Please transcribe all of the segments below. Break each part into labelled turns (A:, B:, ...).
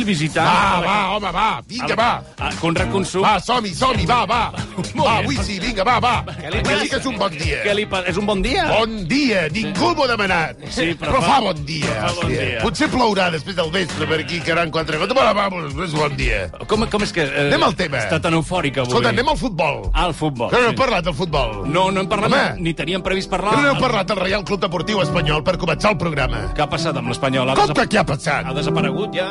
A: visitant...
B: Va, va, home, va, vinga, va.
A: A Conrad Consum.
B: Va, som-hi, som-hi, va, va. Va, avui sí, vinga, va, va. Que sí que és un bon
A: Què
B: dia.
A: li pa- És un bon dia.
B: Bon dia, ningú m'ho ha demanat.
A: Sí, però
B: però
A: fa-
B: fa bon dia.
A: fa bon
B: hòstia.
A: dia.
B: Potser plourà després del vespre per aquí, que eren quatre gotes, però vamos, és doncs, bon dia.
A: Com, com és que... Eh,
B: Anem al tema.
A: Està tan eufòric avui.
B: Escolta, anem al futbol.
A: Al futbol.
B: Que no hem parlat del futbol.
A: Ah, No, no en parlem,
B: Home.
A: ni teníem previst parlar.
B: Que no heu parlat del Reial Club Deportiu Espanyol per començar el programa.
A: Què ha passat amb l'Espanyol? Ha,
B: Com que
A: desap-
B: què ha passat?
A: ha desaparegut ja.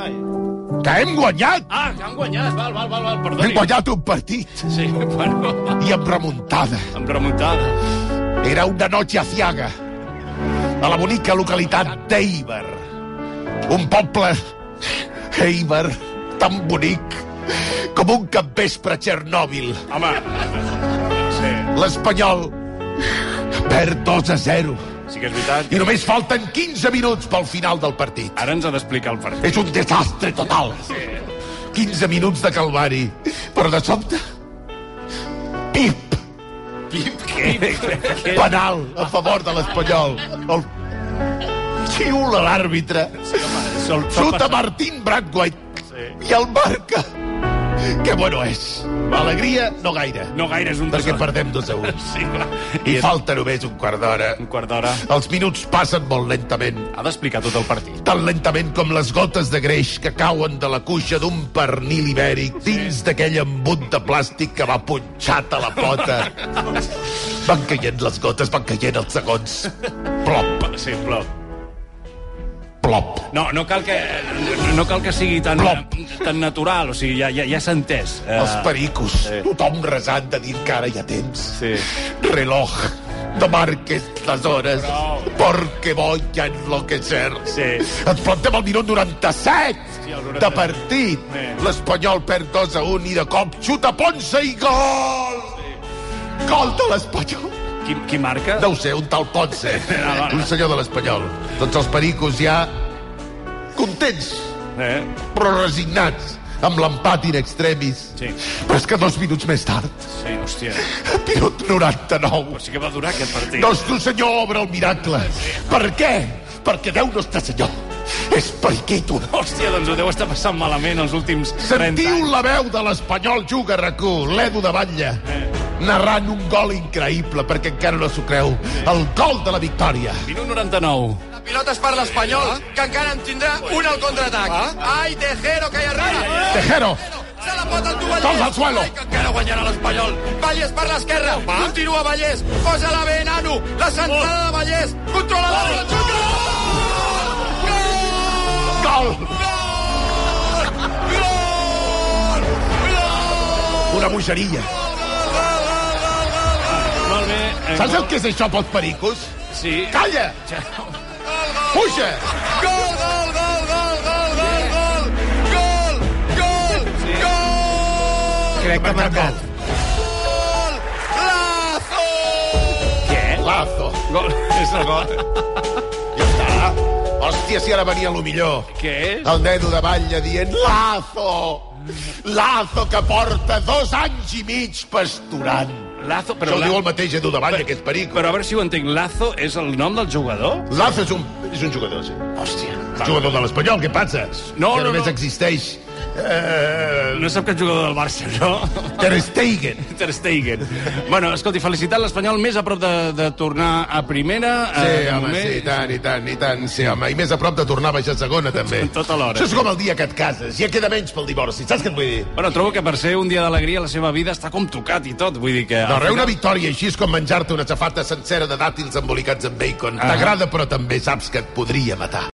B: Que hem guanyat!
A: Ah, que han guanyat. Val, val, val, val.
B: Hem
A: perdoni.
B: guanyat un partit
A: Sí, bueno,
B: i amb remuntada.
A: amb remuntada.
B: Era una noche aciaga a la bonica localitat d'Eibar. Un poble, Eibar, tan bonic com un capvespre a Txernòbil.
A: Home, sí,
B: L'Espanyol perd 2 a 0
A: sí que és veritat.
B: i només falten 15 minuts pel final del partit.
A: Ara ens ha d'explicar el partit.
B: És un desastre total. 15 minuts de calvari. Però de sobte... Pip!
A: Pip, què?
B: Penal a favor de l'Espanyol. El... Xiula l'àrbitre.
A: Sol, sol
B: Xuta Martín Bradway. I el marca. Que bueno és. Alegria, no gaire.
A: No gaire, és un
B: Perquè
A: desastre.
B: perdem dos a un.
A: Sí, clar.
B: I falta només un quart d'hora.
A: Un quart d'hora.
B: Els minuts passen molt lentament.
A: Ha d'explicar tot el partit.
B: tan lentament com les gotes de greix que cauen de la cuixa d'un pernil ibèric dins d'aquell embut de plàstic que va punxat a la pota. Van caient les gotes, van caient els segons. Plop,
A: Sí, plop.
B: plop.
A: No, no cal que, no cal que sigui tan,
B: Plop.
A: tan natural, o sigui, ja, ja, ja s'ha entès. Eh,
B: Els pericos,
A: sí.
B: tothom resant de dir que ara hi ha temps.
A: Sí.
B: Reloj, no marques les hores,
A: Prou.
B: perquè voy a enloquecer.
A: Sí.
B: Ens plantem al minut 97
A: Sí, al 97.
B: de partit.
A: Sí.
B: L'Espanyol perd 2 a 1 i de cop xuta Ponce i gol! Gol de l'Espanyol!
A: Qui, qui marca?
B: Deu ser un tal Ponce,
A: Ah, va.
B: un senyor de l'Espanyol. Tots els pericos ja contents,
A: Eh?
B: però resignats amb l'empat in extremis.
A: Sí.
B: Però és que dos minuts més tard,
A: Sí, hòstia.
B: minut 99,
A: Però sí que va durar aquest partit.
B: Nostre senyor obre el miracle. Per què? Perquè Déu nostre senyor és periquito.
A: Hòstia, doncs ho deu estar passant malament els últims 30
B: Sentiu
A: anys.
B: la veu de l'Espanyol Juga Racó, l'Edu de Batlle, narrant un gol increïble, perquè encara no s'ho creu, el gol de la victòria.
A: Minut 99.
C: La pilota és per l'Espanyol, que encara en tindrà un al contraatac. Ai, Tejero, que hi arriba!
B: Tejero,
C: Se la pot entubar
B: Tots al suelo.
C: Ai, que encara guanyarà l'Espanyol. Vallès per l'esquerra, continua Vallès, posa-la bé, nano, la centrada de Vallès, controla la bola, xuta!
B: gol! Una bogeria.
A: Molt bé. Eh,
B: Saps el que és això pels pericos?
A: Sí.
B: Calla! Puja!
C: Gol, gol, gol, gol, gol, gol, gol, gol, gol, gol,
B: Crec que ha marcat.
C: gol, lazo!
A: Què?
B: Lazo.
A: Gol. És el gol.
B: Ja està. Hòstia, si ara venia lo millor.
A: Què és?
B: El dedo de batlle dient Lazo! Lazo que porta dos anys i mig pasturant.
A: Lazo,
B: Però
A: però...
B: Això ho
A: la-
B: diu el mateix Edu de Batlle, que és perico.
A: Però a veure si ho entenc. Lazo és el nom del jugador?
B: Lazo és un, és un jugador, sí.
A: Hòstia.
B: Va. Jugador de l'Espanyol, què passa?
A: No,
B: que
A: no,
B: només
A: no.
B: existeix... Eh,
A: No sap que és jugador del Barça, no?
B: Ter Stegen.
A: Ter Stegen. Bueno, escolti, felicitat l'Espanyol més a prop de, de tornar a primera.
B: Sí,
A: eh,
B: home,
A: només-
B: sí, i tant, i tant, i tant. Sí, home, i més a prop de tornar a baixar a segona, també.
A: Tot alhora.
B: Això és com el dia que et cases, ja queda menys pel divorci, saps què et vull dir?
A: Bueno, trobo que per ser un dia d'alegria la seva vida està com tocat i tot. Vull dir que...
B: No, re, una victòria així és com menjar-te una safata sencera de dàtils embolicats amb bacon. T'agrada, però també saps que et podria matar.